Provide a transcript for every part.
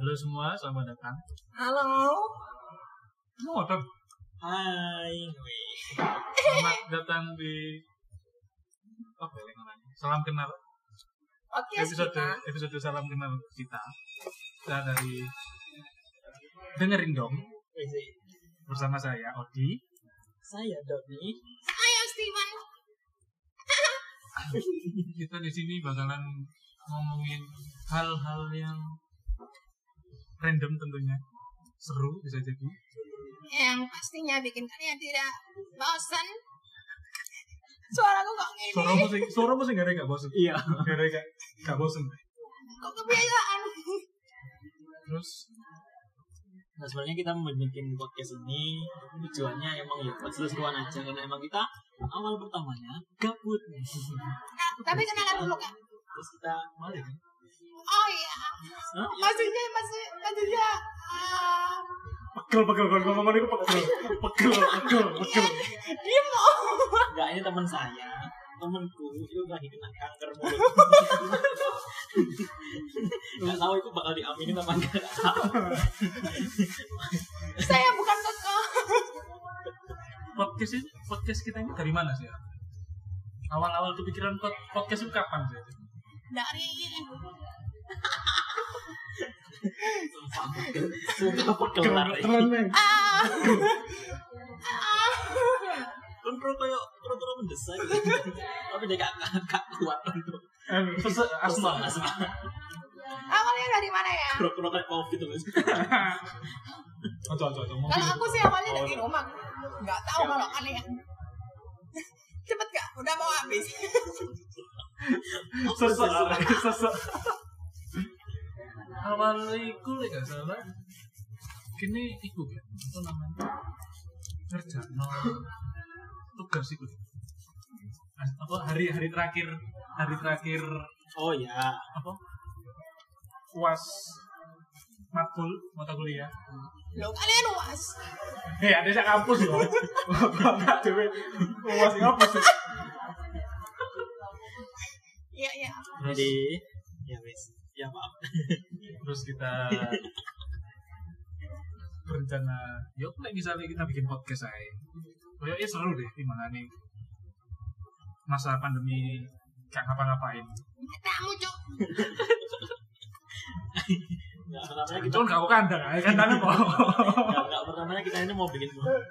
dulu semua, selamat datang. Halo. Lu ngotot. Hai. Selamat datang di apa ya namanya? Salam kenal. Oke, Episode ya? kita. episode salam kenal kita. Kita dari dengerin dong Iya bersama saya Odi. Saya Doni. Ayo Steven. Kita di sini bakalan ngomongin hal-hal yang random tentunya seru bisa jadi Yang pastinya bikin kalian tidak bosan. Suaraku kok gini. suara musik suara musik gara gak bosen Iya. gara gak gak bosen Kok kebiasaan. terus Nah sebenarnya kita mau bikin podcast ini tujuannya emang ya buat seru-seruan aja karena emang kita awal pertamanya gabut. Nah, tapi kenalan dulu kak. Terus kita mari kan? Oh iya. Hah? Maksudnya masih maksudnya. ah, pegel pegel kalau ngomong itu pegel pegel pegel pegel dia mau. Enggak ini teman saya temanku itu lagi kena kanker mulut. Gak tahu itu bakal diaminin apa enggak. Saya bukan keke. podcast ini podcast kita ini dari mana sih awal-awal kepikiran pod- podcast itu kapan sih Dari Sumpah pekelar. neng ah ah Kan perut kayak perut-perut mendesak. gitu. Tapi dia gak gak kuat untuk sese asma asma. awalnya dari mana ya? Kuro-kuro kayak covid terus. ojo ojo ojo mau Kalau Kan aku sih awalnya dari rumah. Nggak tahu kalau kalian. Cepet kak, udah mau habis. sese sese awal itu lek ya, gak salah kini iku ya apa namanya kerja no tugas iku As- apa hari-hari terakhir hari terakhir Oh ya. apa uas matkul mata kuliah Loh kalian luas. Hei, ada yang kampus loh. Enggak dewe. Masih kampus. Iya, iya. Terus, Jadi ya wes. Ya maaf. terus kita berencana, yuk nek misalnya kita bikin podcast aja. Kayaknya seru deh gimana nih masa pandemi gak ngapa-ngapain. Kamu cok. Enggak pertamanya kita Itu kan gak mau kandang, aja kandangnya kok. enggak pertamanya kita ini mau bikin Pertamanya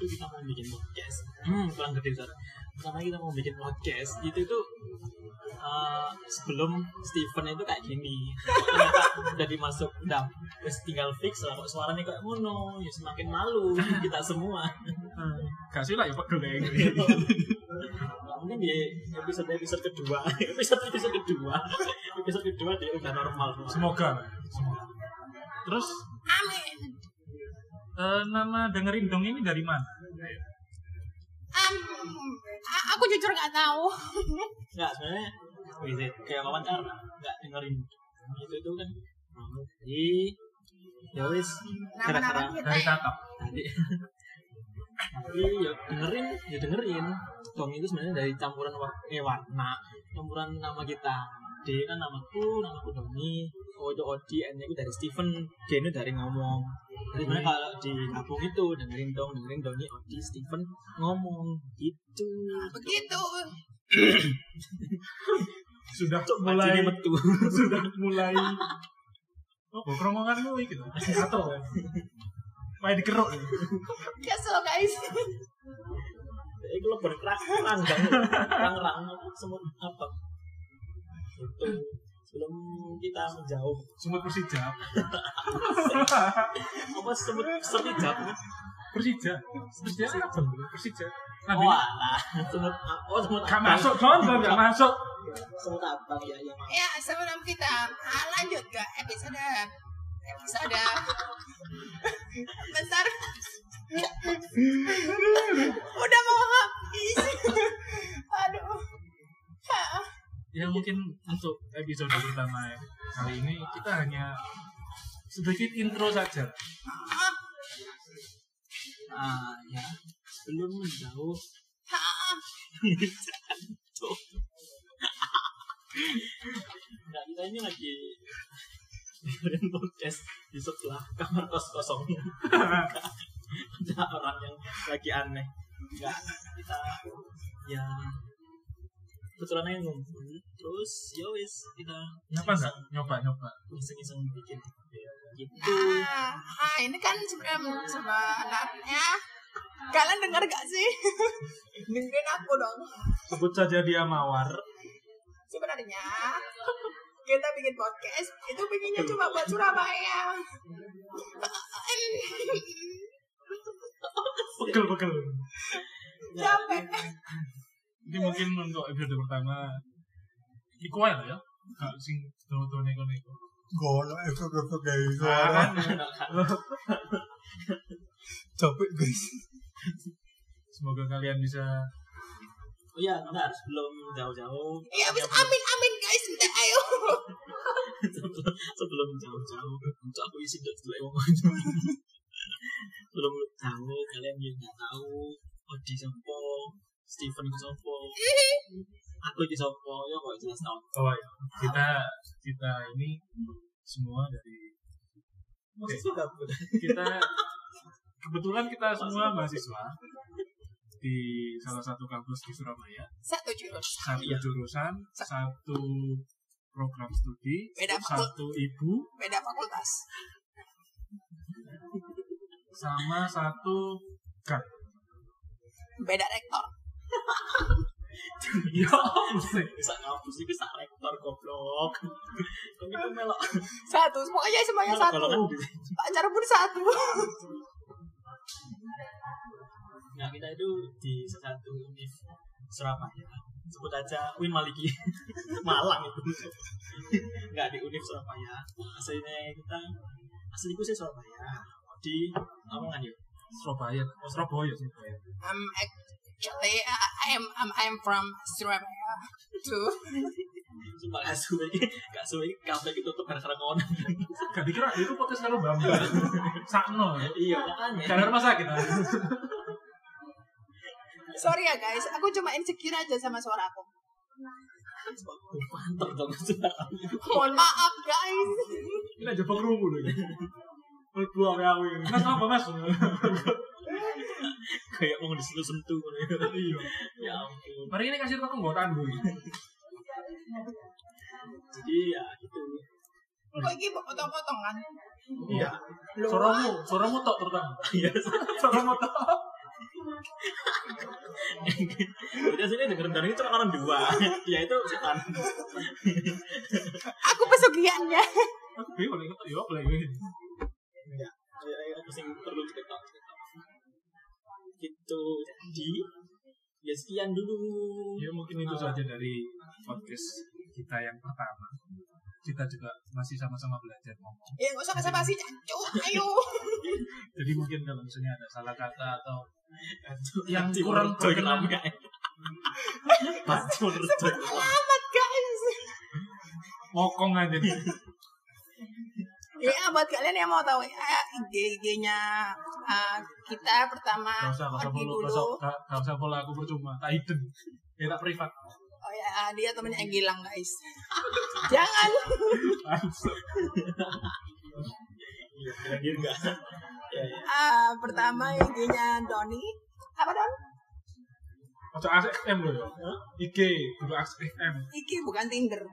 itu kita mau bikin podcast. Hmm, kurang gede besar. Pertama kita mau bikin podcast itu itu eh, sebelum Steven itu kayak gini ternyata dari masuk dam terus tinggal fix lah kok suaranya kayak mono ya semakin malu kita semua Gak sih lah ya pegel deh. Nah, mungkin di episode episode kedua episode episode kedua episode kedua dia udah normal Semoga. lah, Semoga. Terus Amin. eh, nama dengerin dong ini dari mana? Am, a- aku jujur nggak tahu. nggak sebenarnya wizard kayak wawancara nggak dengerin itu itu kan jadi ya wis Nama-nama gara-gara kita. Dari ya. tatap. tadi tapi ya dengerin ya dengerin dong itu sebenarnya dari campuran wa- eh, warna campuran nama kita D kan namaku, namaku Doni, O itu Odi, N itu dari Steven, D itu dari ngomong. Jadi sebenarnya kalau digabung itu dengerin dong, dengerin Doni, Odi, Steven ngomong gitu. Begitu. Sudah Mulai mulai metu. sudah mulai oh kerongkongan gue gitu atau main dikeruk gitu. Kesel guys. Itu lo berkeranggang, kerang-kerang semut apa? Itu sebelum kita menjauh semut persija apa semut sertijab persija persija apa persija nah, oh alah semut oh semut gak abang. masuk don don gak masuk semut abang ya ya maaf. Ya, sebelum kita ah, lanjut ke episode episode bentar. Udah mau habis. Aduh. Ah, ya mungkin untuk episode pertama ya, kali ini kita hanya sedikit intro saja ah, ah ya sebelum menjauh ah. Nah, kita ini lagi dengerin podcast di sebelah kamar kos kosong ada orang yang lagi aneh nggak kita ya kebetulan aja ngumpul terus ya wis kita Kenapa enggak? Nyoba, nyoba. iseng iseng bikin gitu Nah, ah, ini kan sebenarnya sebenarnya kalian dengar gak sih? Dengerin aku dong. Sebut saja dia mawar. Sebenarnya kita bikin podcast itu bikinnya cuma buat Surabaya. Pegel, pegel. Capek. Ini mungkin untuk episode pertama. Iku aja lah ya. Gak sing tuh neko-neko. Gono efek-efek dari Ah, suara. 啊 kan? Capek guys. Semoga kalian bisa oh ya benar sebelum jauh jauh Iya, abis amin amin guys, bentar ayo. sebelum jauh-jauh untuk aku isi dulu dulu emang maju sebelum jauh kalian yang nggak tahu Odi Sopo Steven itu Sopo aku itu Sopo ya kok jelas tau oh, ya. kita kita ini semua dari maksudnya gak boleh kita kebetulan kita semua mahasiswa di salah satu kampus di Surabaya Satu jurus. satu Iya. jurusan satu program studi Beda fakult- satu ibu beda fakultas. sama satu kan Beda rektor. ya bisa ngapus itu bisa rektor goblok kok itu melok Satu, semuanya semuanya melok satu. kalau kan Pacar pun satu. nah kita itu di salah satu univ Surabaya sebut aja Win Maliki Malang itu nggak di Univ Surabaya aslinya kita asliku sih Surabaya di apa kan yuk Surabaya oh, Surabaya Surabaya I'm actually uh, I'm I'm I'm from Surabaya too. cuma gak suwe gak suwe kafe itu tutup gara-gara kon gak dikira itu podcast karo bambu sakno ya. iya aneh karena rumah sakit ah. Sorry ya guys, aku cuma insecure aja sama suaraku. mantep dong suara Mohon maaf guys. ini aja pengrungu loh berdua kawe mas apa mas kayak mau disentuh sentuh iya ya ampun mari ini kasih toko buat tandu jadi ya gitu Kok ini potong-potong kan? iya suaramu suaramu tok terutama iya suaramu tok kita sini dengerin dari itu orang dua ya itu setan Aku pesugihannya. aku bingung ini tok ya apa lagi ya kayak kayak apa sih yang perlu diketok diketok. gitu jadi ya sekian dulu ya mungkin itu saja dari podcast kita yang pertama kita juga masih sama-sama belajar ngomong Ya gak usah basa-basi, cancu. Ayo. jadi mungkin kalau misalnya ada salah kata atau yang Yang kurang kurang berkenan. berkenan Bacur Alamat guys. ngokong aja nih Ya buat kalian yang mau tahu ya IG-nya eh, kita gak pertama usah gak usah Odi follow gak usah gak- gak usah follow aku percuma tak hidden ya tak privat Oh ya, dia temennya yang Gilang guys. Jangan. Langsung. Iya enggak Ya, ya. Ah, pertama IG-nya Doni. Apa Don? Ojo ASFM loh ya Hah? IG buka ASFM Iki bukan Tinder.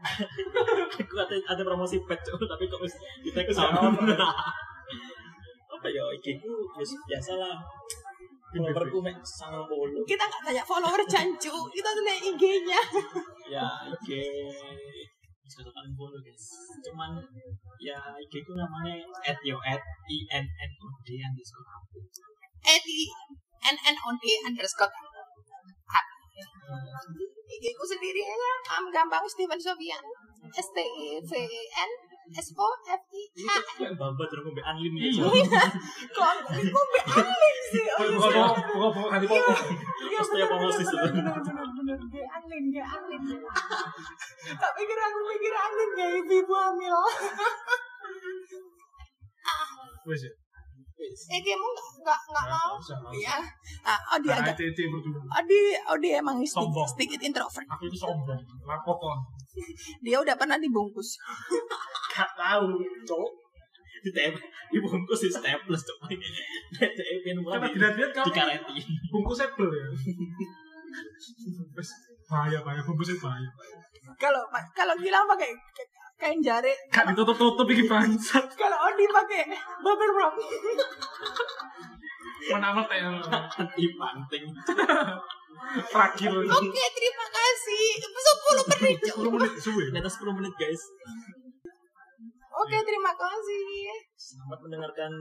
Aku ada, ada promosi pet Cuk, tapi kok wis kita ke sana. Apa ya iki ku wis biasa lah. Followerku mek 90. Kita nggak tanya follower jancu, kita tanya IG-nya. ya IG bisa tekan follow guys cuman ya IG ku namanya at yo at i n n o d underscore aku Eti N N O D underscore. Ah. IG ku sendiri ya, am gampang Steven Sofian. S T E V E N S O F I ini A. tuh kayak bamba terus ngombe unlim ya Iya. Cuk. Kok aku bealim sih? Oh, iya, pokok pokok pokok pokok hati pokok Iya Pasti apa mau sih, bener, sebenarnya? bener, bener, bener. Dia angin, dia angin. Tak pikir aku pikir angin ya ibu, ibu hamil. Ah. wes ya Wis. Eh kamu nggak nggak Nggak nggak mau? usah, nggak usah. Iya. Ah, oh dia Nah, agak. ITT percuma Oh dia, oh dia emang sedikit, Sombong. sedikit introvert. aku itu sombong lapokon Dia udah pernah dibungkus. gak tahu Cuk, ditempel dibungkus di staples cuma DTP Karena nomor dilihat-lihat di kamu karantin bungkusnya bel ya. Wes, bahaya bahaya bungkusnya bahaya. Kalau kalau Gilang pakai ka- kain jari, Kak ditutup-tutup iki bangsat. kalau Ondi pakai bubble wrap. Menamat ya. anti panting Terakhir. Oke, terima kasih. 10 menit. Cuk. 10 menit suwe. ternyata 10 menit guys Oke, terima kasih. selamat mendengarkan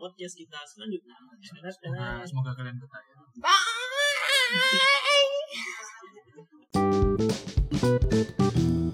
podcast kita selanjutnya Nah, Dadah. semoga kalian betah ya. Bye.